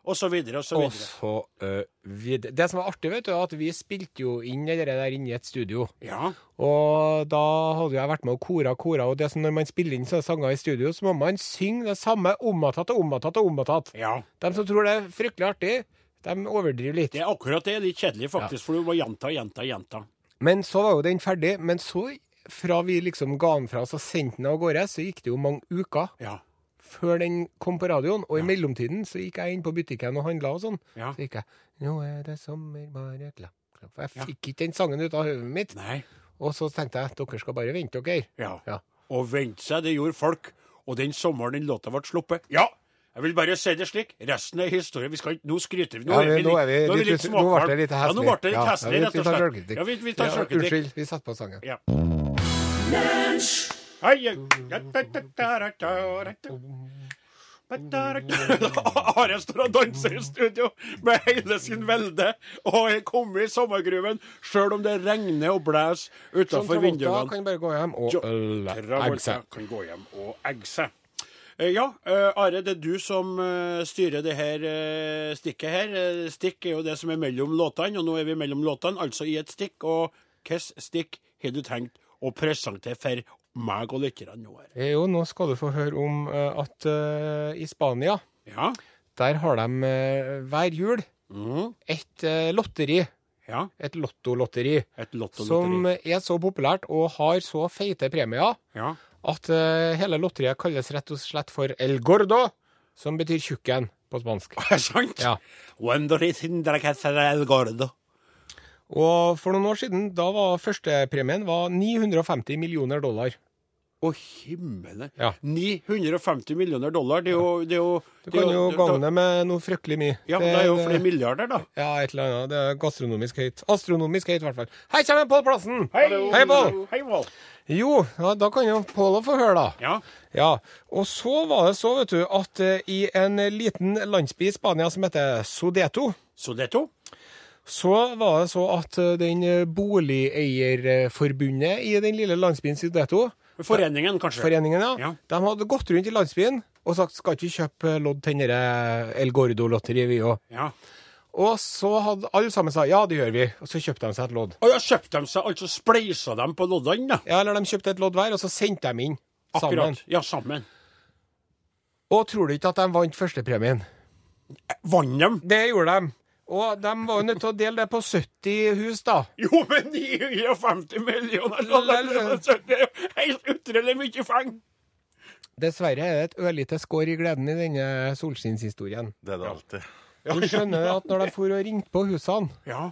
Speaker 2: Og så videre og så
Speaker 1: Og
Speaker 2: videre.
Speaker 1: så eh, vid- Det som var artig, vet du, er at vi spilte jo inn det der inne i et studio.
Speaker 2: Ja.
Speaker 1: Og da hadde jo jeg vært med og kora og kora, og det som når man spiller inn sånne sanger i studio, så må man synge det samme om og tatt og om og tatt og om og tatt.
Speaker 2: ja.
Speaker 1: De som tror det er fryktelig artig, de overdriver litt.
Speaker 2: Det er akkurat det. Litt kjedelig, faktisk, for du må gjenta, gjenta, gjenta.
Speaker 1: Men så var jo den ferdig. Men så, fra vi liksom ga den fra oss og sendte den av gårde, så gikk det jo mange uker
Speaker 2: Ja.
Speaker 1: før den kom på radioen. Og i mellomtiden så gikk jeg inn på butikken og handla og sånn.
Speaker 2: Ja.
Speaker 1: Så gikk jeg Nå er det sommer, bare klapp, klapp. For jeg fikk ikke den sangen ut av hodet mitt.
Speaker 2: Nei.
Speaker 1: Og så tenkte jeg dere skal bare vente dere.
Speaker 2: Ja.
Speaker 1: Ja.
Speaker 2: Og vente seg, det gjorde folk. Og den sommeren den låta ble sluppet Ja! Jeg vil bare si det slik. Resten er historie. Vi skal ikke Nå skryter vi. Nå,
Speaker 1: Ja, men
Speaker 2: litt-
Speaker 1: nå er vi
Speaker 2: nå
Speaker 1: litt-
Speaker 2: litt
Speaker 1: nå ble
Speaker 2: småkvalm.
Speaker 1: det litt
Speaker 2: Ja, nå
Speaker 1: heslig.
Speaker 2: ble det
Speaker 1: Ja,
Speaker 2: litt heslig,
Speaker 1: ja, vi-
Speaker 2: rett og
Speaker 1: vi tar
Speaker 2: slett.
Speaker 1: sjølkritikk.
Speaker 2: Ja, vi, vi tar
Speaker 1: Ja,
Speaker 2: sjølkritikk.
Speaker 1: Unnskyld, vi setter på sangen.
Speaker 2: Ja. Are står og danser i studio med hele sin velde og er kommet i sommergruven, sjøl om det regner og blåser
Speaker 1: John
Speaker 2: utafor
Speaker 1: Travolta
Speaker 2: vinduene.
Speaker 1: kan bare gå hjem og
Speaker 2: John
Speaker 1: la-
Speaker 2: Travolta
Speaker 1: egg seg.
Speaker 2: kan gå hjem og egge seg. Eh, Ja, eh, Are, det er du som eh, styrer det her eh, stikket her. Eh, Stikk er jo det som er mellom låtene, og nå er vi mellom låtene, altså i et stikk. Og hvilket stikk har du tenkt å presentere for meg og lytterne nå? Are?
Speaker 1: Eh, Jo, nå skal du få høre om eh, at eh, i Spania
Speaker 2: Ja,
Speaker 1: Der har de eh, hver jul et eh, lotteri,
Speaker 2: ja. eh,
Speaker 1: et lottolotteri,
Speaker 2: Et
Speaker 1: som eh,
Speaker 2: lottolotteri.
Speaker 1: er så populært og har så feite premier
Speaker 2: Ja.
Speaker 1: at eh, hele lotteriet kalles rett og slett for El Gordo, som betyr tjukken på spansk.
Speaker 2: <laughs> Er det sant?
Speaker 1: Ja.
Speaker 2: Wonder is in the castle el gordo.
Speaker 1: Og for noen år siden, da var førstepremien var 950 millioner dollar.
Speaker 2: Å, himmelen.
Speaker 1: Ja.
Speaker 2: 950 millioner dollar, det er jo det er jo,
Speaker 1: Du
Speaker 2: det er
Speaker 1: kan jo eh,
Speaker 2: det-
Speaker 1: gange det med noe fryktelig mye.
Speaker 2: Ja, det er jo flere milliarder, da.
Speaker 1: Ja, et eller annet. Det er gastronomisk høyt. Astronomisk høyt, i hvert fall. Her kommer Pål Plassen! Hei, Pål!
Speaker 2: Hei, Pål.
Speaker 1: Jo, ja, da kan jo Pål få høre, da.
Speaker 2: Ja.
Speaker 1: Ja, og så var det så, vet du, at eh, i en liten landsby i Spania som heter Sodeto,
Speaker 2: Så det er to.
Speaker 1: så var det så at eh, den eh, boligeierforbundet i den lille landsbyen Sodeto,
Speaker 2: Foreningen, kanskje.
Speaker 1: foreningen, ja,
Speaker 2: Ja.
Speaker 1: de hadde gått rundt i landsbyen og sagt skal ikke vi kjøpe lodd til denne El Gordo-lotteriet, vi òg.
Speaker 2: Ja.
Speaker 1: Og så hadde alle sammen sa ja, det gjør vi, og så kjøpte de seg et lodd.
Speaker 2: Og ja, kjøpte de seg, altså spleisa dem på loddene, da.
Speaker 1: Ja, eller de kjøpte et lodd hver, og så sendte de inn sammen.
Speaker 2: Akkurat. Ja, sammen.
Speaker 1: Og tror du ikke at de vant førstepremien?
Speaker 2: Vant dem?
Speaker 1: Det gjorde de. Og de var jo nødt til å dele det på 70 hus, da.
Speaker 2: Jo, men 950 millioner dollar!
Speaker 1: Lell.
Speaker 2: så Det er jo helt utrolig mye feng!
Speaker 1: Dessverre er det et ørlite skår i gleden i denne solskinnshistorien.
Speaker 5: Det er det alltid.
Speaker 1: Du skjønner at når de for og ringte på husene,
Speaker 2: Ja.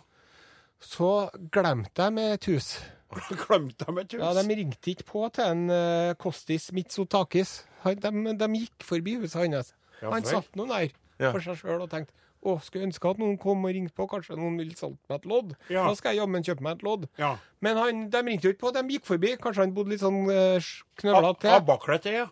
Speaker 1: så glemte de et hus.
Speaker 2: <laughs> Glemte dem et hus.
Speaker 1: Ja, De ringte ikke på til en eh, Kostis Mitsotakis. Han- De, de gikk forbi huset hans. Han
Speaker 5: vel.
Speaker 1: satt nå der
Speaker 5: Ja.
Speaker 1: for seg sjøl og tenkte å, skulle ønske at noen kom og ringte på, kanskje noen vil solge meg et lodd.
Speaker 2: Ja.
Speaker 1: Da skal jeg jammen kjøpe meg et lodd.
Speaker 2: Ja.
Speaker 1: Men han, de ringte jo ikke på, de gikk forbi. Kanskje han bodde litt sånn uh, knøvla
Speaker 2: Ab-
Speaker 1: til.
Speaker 2: Abaklet, ja.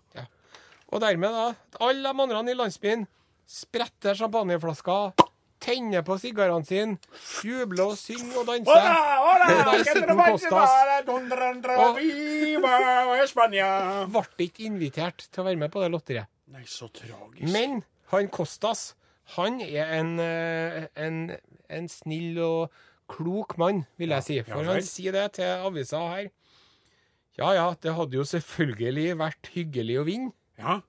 Speaker 1: Og dermed, da, alle de andre i landsbyen spretter champagneflasker, tenner på sigarene sine, jubler og synger og danser.
Speaker 2: Hola, hola!
Speaker 1: Det der
Speaker 2: que
Speaker 1: sitter
Speaker 2: te vas
Speaker 1: Kostas.
Speaker 2: llevar a Dundrandra,
Speaker 1: Og-
Speaker 2: viva España!
Speaker 1: <laughs> Ble ikke invitert til å være med på det lotteriet.
Speaker 2: Nei, så tragisk.
Speaker 1: Men han Kostas, han er en, eh, en, en snill og klok mann, vil jeg si. For
Speaker 2: vel.
Speaker 1: han sier det til avisa her. Ja ja, det hadde jo selvfølgelig vært hyggelig å vinne.
Speaker 2: Ja.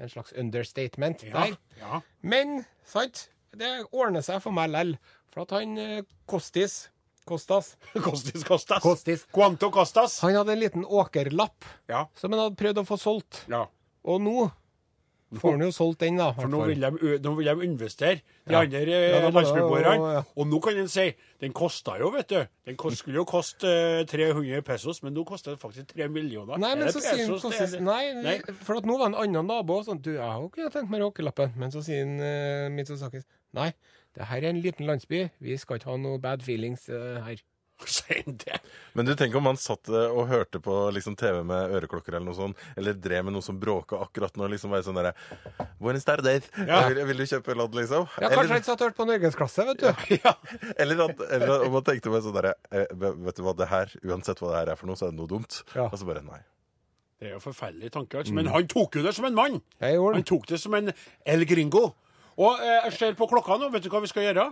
Speaker 1: En slags understatement
Speaker 2: Ja,
Speaker 1: der.
Speaker 2: ja. <laughs>
Speaker 1: Men, sant, det ordner seg for meg lell. For at han eh, Kostis Kostas.
Speaker 2: Kostis Kostas.
Speaker 1: Kostis.
Speaker 2: Quanto Kostas.
Speaker 1: Han hadde en liten åkerlapp
Speaker 2: Ja.
Speaker 1: som han hadde prøvd å få solgt.
Speaker 2: ja.
Speaker 1: Og nå får han jo solgt den, da.
Speaker 2: For nå
Speaker 1: hvertfall.
Speaker 2: vil de, ø- nå vil de investere, de
Speaker 1: Ja.
Speaker 2: andre
Speaker 1: Ja,
Speaker 2: ja,
Speaker 1: da må- ja, ja.
Speaker 2: landsbygårdene. Og nå kan en si den kosta jo, vet du. Den kost, skulle jo koste eh, 300 pesos, men nå koster den faktisk 3 millioner.
Speaker 1: Nei,
Speaker 2: Er
Speaker 1: men
Speaker 2: det
Speaker 1: så sier han
Speaker 2: pesos, det er <laughs>
Speaker 1: Kostis
Speaker 2: det?
Speaker 1: nei,
Speaker 2: Nei.
Speaker 1: for at nå var en annen nabo og sånn Du, jeg har jo ikke tenkt meg råkelappen. Men så sier han uh, Mitsosakis nei, det her er en liten landsby. Vi skal ikke ha noe bad feelings eh, her.
Speaker 2: Sier han det?
Speaker 5: Men du tenk om man satt eh, og hørte på liksom, TV med øreklokker eller noe sånt, eller drev med noe som bråka akkurat nå, liksom være sånn derre Buenos tardes.
Speaker 2: Ja.
Speaker 5: Vil, vil du kjøpe lodd, liksom?
Speaker 1: Ja, kanskje han
Speaker 5: eller,
Speaker 1: ikke satt og hørte på Norgesklasse, vet du.
Speaker 2: Ja.
Speaker 5: eller, at, eller at- om man tenkte meg sånn derre eh, Vet du hva, det her, uansett hva det her er for noe, så er det noe dumt.
Speaker 1: Ja.
Speaker 5: Og så bare nei.
Speaker 2: Det er jo forferdelig tanke. altså. Men han tok jo det som en mann.
Speaker 1: Jeg gjorde
Speaker 2: Han
Speaker 1: den.
Speaker 2: tok det som en El Gringo. Og eh, jeg ser på klokka nå. Vet du hva vi skal gjøre?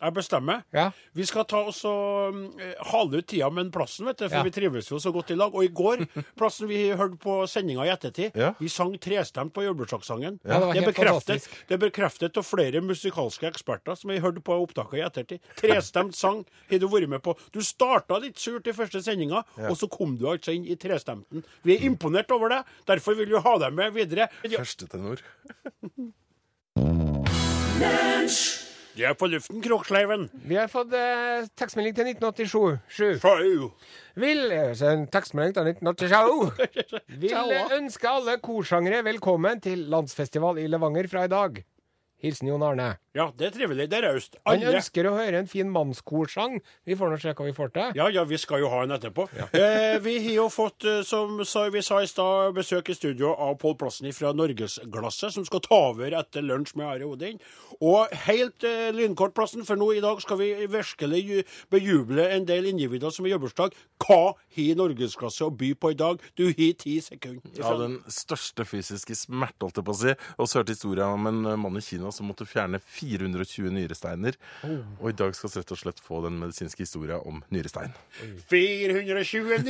Speaker 2: Jeg bestemmer.
Speaker 1: Ja.
Speaker 2: Vi skal ta oss og mm, eh, hale ut tida med plassen, vet du, for
Speaker 1: Ja.
Speaker 2: vi trives jo så godt i lag. Og i
Speaker 1: <laughs>
Speaker 2: går, plassen vi hørte på sendinga i ettertid,
Speaker 5: Ja.
Speaker 2: vi sang trestemt på jordbrukssakssangen.
Speaker 1: Ja, det var
Speaker 2: det,
Speaker 1: helt
Speaker 2: bekreftet-
Speaker 1: fantastisk.
Speaker 2: det er bekreftet av flere musikalske eksperter som vi hørte på opptaket i ettertid. Trestemt sang har du vært med på. Du starta litt surt i første sendinga, og så kom du altså inn i trestemten. Vi er imponert over deg, derfor vil vi ha deg med videre. Ja,
Speaker 5: Første tenor.
Speaker 2: Du er på luften, Kroksleiven.
Speaker 1: Vi har fått eh, tekstmelding til 1987. Sju.
Speaker 2: Sjau.
Speaker 1: Vil eh, så en tekstmelding til
Speaker 2: <laughs>
Speaker 1: 1987. Vil eh, ønske alle korsangere velkommen til landsfestival i Levanger fra i dag. Hilsen Jon Arne.
Speaker 2: Ja, det er trivelig. Det er raust.
Speaker 1: Han
Speaker 2: Alle
Speaker 1: ønsker å høre en fin mannskorsang. Vi får nå se hva vi får til.
Speaker 2: Ja, ja, vi skal jo ha en etterpå. eh, vi har jo fått, eh, som sa, vi sa i stad, besøk i studio av Pål Plassen fra Norgesglasset, som skal ta over etter lunsj med Are Odin. Og helt eh, lynkort, Plassen, for nå i dag skal vi virkelig ju- bejuble en del individer som har jobbursdag. Hva har Norgesglasset å by på i dag? Du har ti sekunder.
Speaker 5: Ja, den største fysiske smerte, holdt jeg på å si. Og så hørte historien om en eh, mann i Kina som måtte fjerne 420 nyresteiner.
Speaker 1: Oh.
Speaker 5: Og i dag skal vi rett og slett få den medisinske historien om nyrestein.
Speaker 2: 429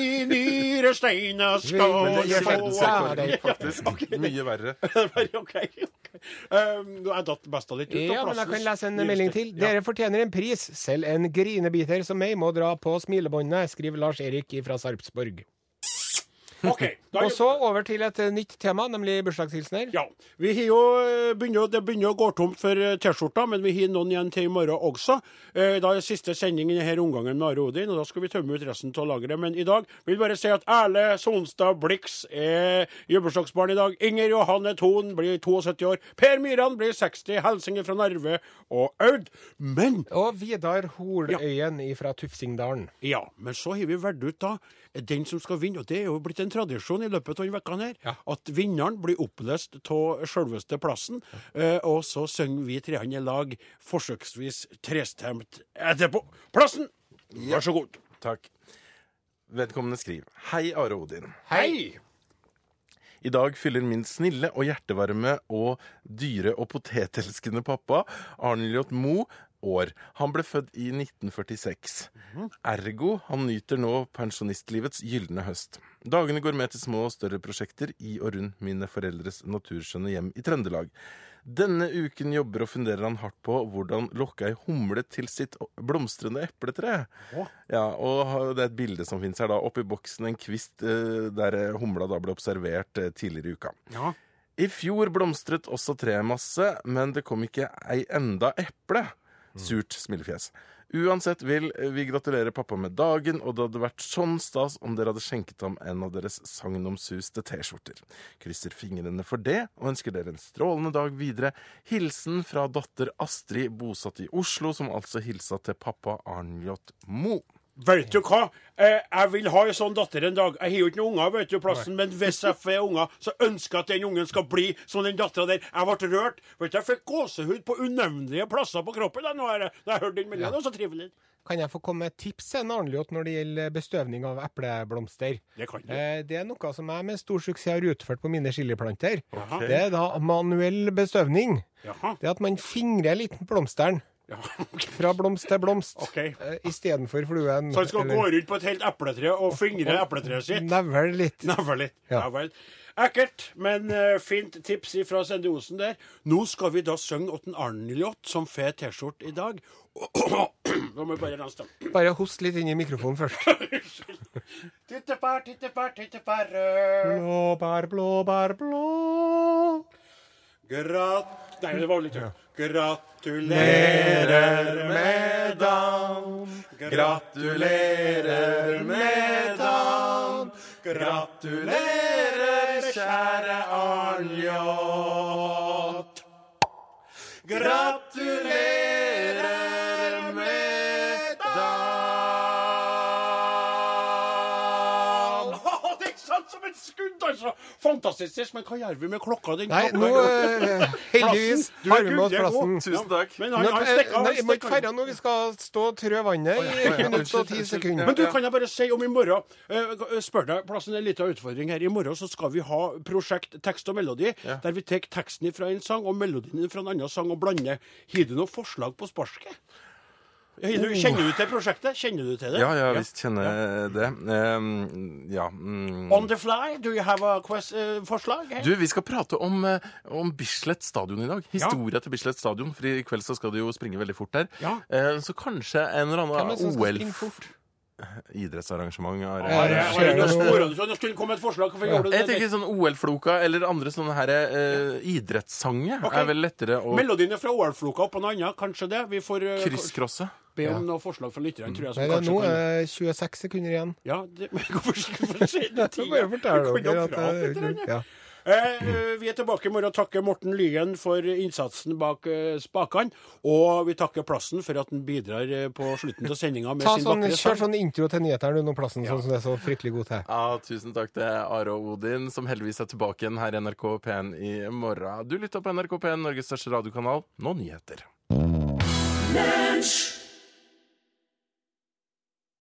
Speaker 1: Men
Speaker 2: nyresteiner skal
Speaker 1: det gjør
Speaker 2: jeg
Speaker 1: verden
Speaker 2: få
Speaker 1: selv. Ja, det er
Speaker 5: faktisk mye verre.
Speaker 2: <laughs> OK. ok. Um, jeg datt besta litt ut. da,
Speaker 1: Ja, men jeg
Speaker 2: Plassens
Speaker 1: kan lese en
Speaker 2: nyrestein.
Speaker 1: melding til.
Speaker 2: Ja.
Speaker 1: Dere fortjener en pris. Selv en grinebiter som meg må dra på smilebåndet, skriver Lars Erik fra Sarpsborg.
Speaker 2: <laughs> OK. Da,
Speaker 1: Og så over til et eh, nytt tema, nemlig bursdagshilsener.
Speaker 2: Ja. Vi har jo eh, begynner, jo- Det begynner å gå tomt for eh, T-skjorta, men vi har noen igjen til i morgen også. Eh, Da er siste sending i denne omgangen med Are Odin, og da skal vi tømme ut resten av lageret. Men i dag vil jeg bare si at Erle Sonstad Blix er jubileumsbarn i dag. Inger Johanne Thon blir 72 år. Per Myran blir 60. Helsinger fra Narve og Aud. Men
Speaker 1: Og Vidar Holøyen fra Tufsingdalen.
Speaker 2: ja, men så har vi valgt ut da den som skal vinne, og det er jo blitt en tradisjon i løpet av denne vekka her, at vinneren blir opplest av selveste plassen, eh, og så synger vi treene i lag, forsøksvis trestemt etterpå. Plassen! Vær så god.
Speaker 5: Takk. Vedkommende skriver Hei, Are Odin.
Speaker 2: Hei!
Speaker 5: I dag fyller min snille og hjertevarme og dyre- og potetelskende pappa, Arnljot Moe, år. Han ble født i 1946. Ergo han nyter nå pensjonistlivets gylne høst. Dagene går med til små og større prosjekter i og rundt mine foreldres naturskjønne hjem i Trøndelag. Denne uken jobber og funderer han hardt på hvordan lokke ei humle til sitt blomstrende epletre. Ja, og ha- det er et bilde som finnes her, da. Oppi boksen en kvist eh, der eh, humla da ble observert eh, tidligere i uka.
Speaker 2: Ja.
Speaker 5: I fjor blomstret også treet masse, men det kom ikke ei enda eple. Surt smilefjes. Uansett vil vi gratulere pappa med dagen, og det hadde vært sånn stas om dere hadde skjenket ham en av deres sagnomsuste T-skjorter. Krysser fingrene for det, og ønsker dere en strålende dag videre. Hilsen fra datter Astrid, bosatt i Oslo, som altså hilsa til pappa Arnljot Moe.
Speaker 2: Vet du hva? Eh, jeg vil ha en sånn datter en dag. Jeg har jo ikke noen unger, vet du, plassen, men hvis jeg får unger, så ønsker jeg at den ungen skal bli som den dattera der. Jeg ble rørt. Vet du, Jeg fikk gåsehud på unevnelige plasser på kroppen da nå er det- da jeg hørte den meldinga. Det var så trivelig.
Speaker 1: Kan jeg få komme med et tips til en Arnljot når det gjelder bestøvning av epleblomster?
Speaker 2: Det kan du.
Speaker 1: Eh, Det er noe som jeg med stor suksess har utført på mine chiliplanter. Det er da manuell bestøvning.
Speaker 2: Jaha.
Speaker 1: Det er at man fingrer litt på blomsteren.
Speaker 2: <laughs>
Speaker 1: Fra blomst til blomst.
Speaker 2: Ok.
Speaker 1: Eh, Istedenfor fluen.
Speaker 2: Så han skal
Speaker 1: eller
Speaker 2: gå rundt på et helt epletre og fingre epletreet <laughs> sitt?
Speaker 1: Nevel litt.
Speaker 2: Navle litt. Ja.
Speaker 1: Ja.
Speaker 2: vel. Ekkelt, men eh, fint tips fra Sende Osen der. Nå skal vi da synge åtten Arnljot som får T-skjorte i dag. <clears throat> Nå må vi bare rense dem.
Speaker 1: Bare host litt inn i mikrofonen først.
Speaker 2: Tittepær, tittepær, tittepær
Speaker 1: Mm.
Speaker 2: rød.
Speaker 1: Blåbær, blåbær, blå.
Speaker 2: Grat... Nei, det var litt høyt. Gratulerer med dagen.
Speaker 5: Gratulerer med dagen.
Speaker 2: Gratulerer, kjære Arnljot. Gratulerer med dagen. Det er ikke sant som et skudd, altså. Fantastisk. Men hva gjør vi med klokka? Den
Speaker 1: Nei,
Speaker 2: klokka
Speaker 1: nå eh,
Speaker 2: er-
Speaker 1: Heldigvis
Speaker 2: Plassen. Du er
Speaker 1: har vi med
Speaker 2: Gud,
Speaker 1: oss
Speaker 2: det er god.
Speaker 1: plassen.
Speaker 5: Tusen takk.
Speaker 2: Men
Speaker 1: Nå,
Speaker 2: han, han
Speaker 1: eh,
Speaker 2: stikker av.
Speaker 1: nei,
Speaker 2: han
Speaker 1: må ikke
Speaker 2: stikker av.
Speaker 1: ferda nå. Vi skal stå og trø vannet i
Speaker 5: ja, ja,
Speaker 1: ett minutt og
Speaker 5: unnskyld,
Speaker 1: ti
Speaker 5: unnskyld.
Speaker 1: sekunder.
Speaker 2: Men du, kan jeg bare si om i morgen eh, Spør deg, plassen er en liten utfordring her. I morgen så skal vi ha prosjekt tekst og melodi, der vi tar teksten fra en sang og melodien fra en annen sang og blander. Har du noen forslag på sparket? Har du- Kjenner du til prosjektet? Kjenner du til det?
Speaker 5: Oh. Ja, ja, visst kjenner jeg det. Ehm, ja. mm.
Speaker 2: On the fly, do you have a quest, eh, forslag? Hey?
Speaker 5: Du, vi skal prate om, eh, om Bislett stadion i dag. Historia til Bislett stadion, for i kveld så skal det jo springe veldig fort der.
Speaker 2: Ja.
Speaker 5: Eh, så kanskje en eller
Speaker 1: Hvem er
Speaker 5: annen
Speaker 1: det som skal springe fort?
Speaker 5: OL-idrettsarrangement er-
Speaker 1: Ja,
Speaker 2: Are,
Speaker 1: ja.
Speaker 2: Are, nå sporer du så Nå skulle det komme et forslag. Hvorfor gjorde du
Speaker 5: Jeg
Speaker 2: det?
Speaker 5: tenker sånn OL-floka eller andre sånne her eh, idrettssanger
Speaker 2: Ok.
Speaker 5: er vel lettere å
Speaker 2: Melodien er fra OL-floka oppå noe annet, kanskje det? Vi får eh,
Speaker 5: krysskrosse.
Speaker 2: be om noen forslag fra lytterne, tror jeg. som
Speaker 1: Nei, det er
Speaker 2: kanskje
Speaker 1: nå
Speaker 2: kan-
Speaker 1: eh, 26 sekunder igjen.
Speaker 2: Ja, det, <laughs> men hvorfor hvorfor sier du
Speaker 1: Så
Speaker 2: ting?
Speaker 1: bare fortell
Speaker 2: Vi kan
Speaker 1: dere
Speaker 2: da
Speaker 1: at det
Speaker 2: prate litt,
Speaker 1: er
Speaker 2: Rune.
Speaker 1: ja.
Speaker 2: Eh, eh, vi er tilbake i morgen og takker Morten Lyen for innsatsen bak eh, spakene. Og vi takker Plassen for at han bidrar eh, på slutten av sendinga med
Speaker 1: Ta
Speaker 2: sin
Speaker 1: sånn,
Speaker 2: vakre
Speaker 1: Kjør
Speaker 2: sang.
Speaker 1: sånn intro til nyhetene under plassen, sånn som det er så fryktelig god til.
Speaker 5: Ja, tusen takk til Are og Odin, som heldigvis er tilbake igjen her i NRK P1 i morgen. Du lytter på NRK P1, Norges største radiokanal. Nå nyheter.
Speaker 6: Lunsj,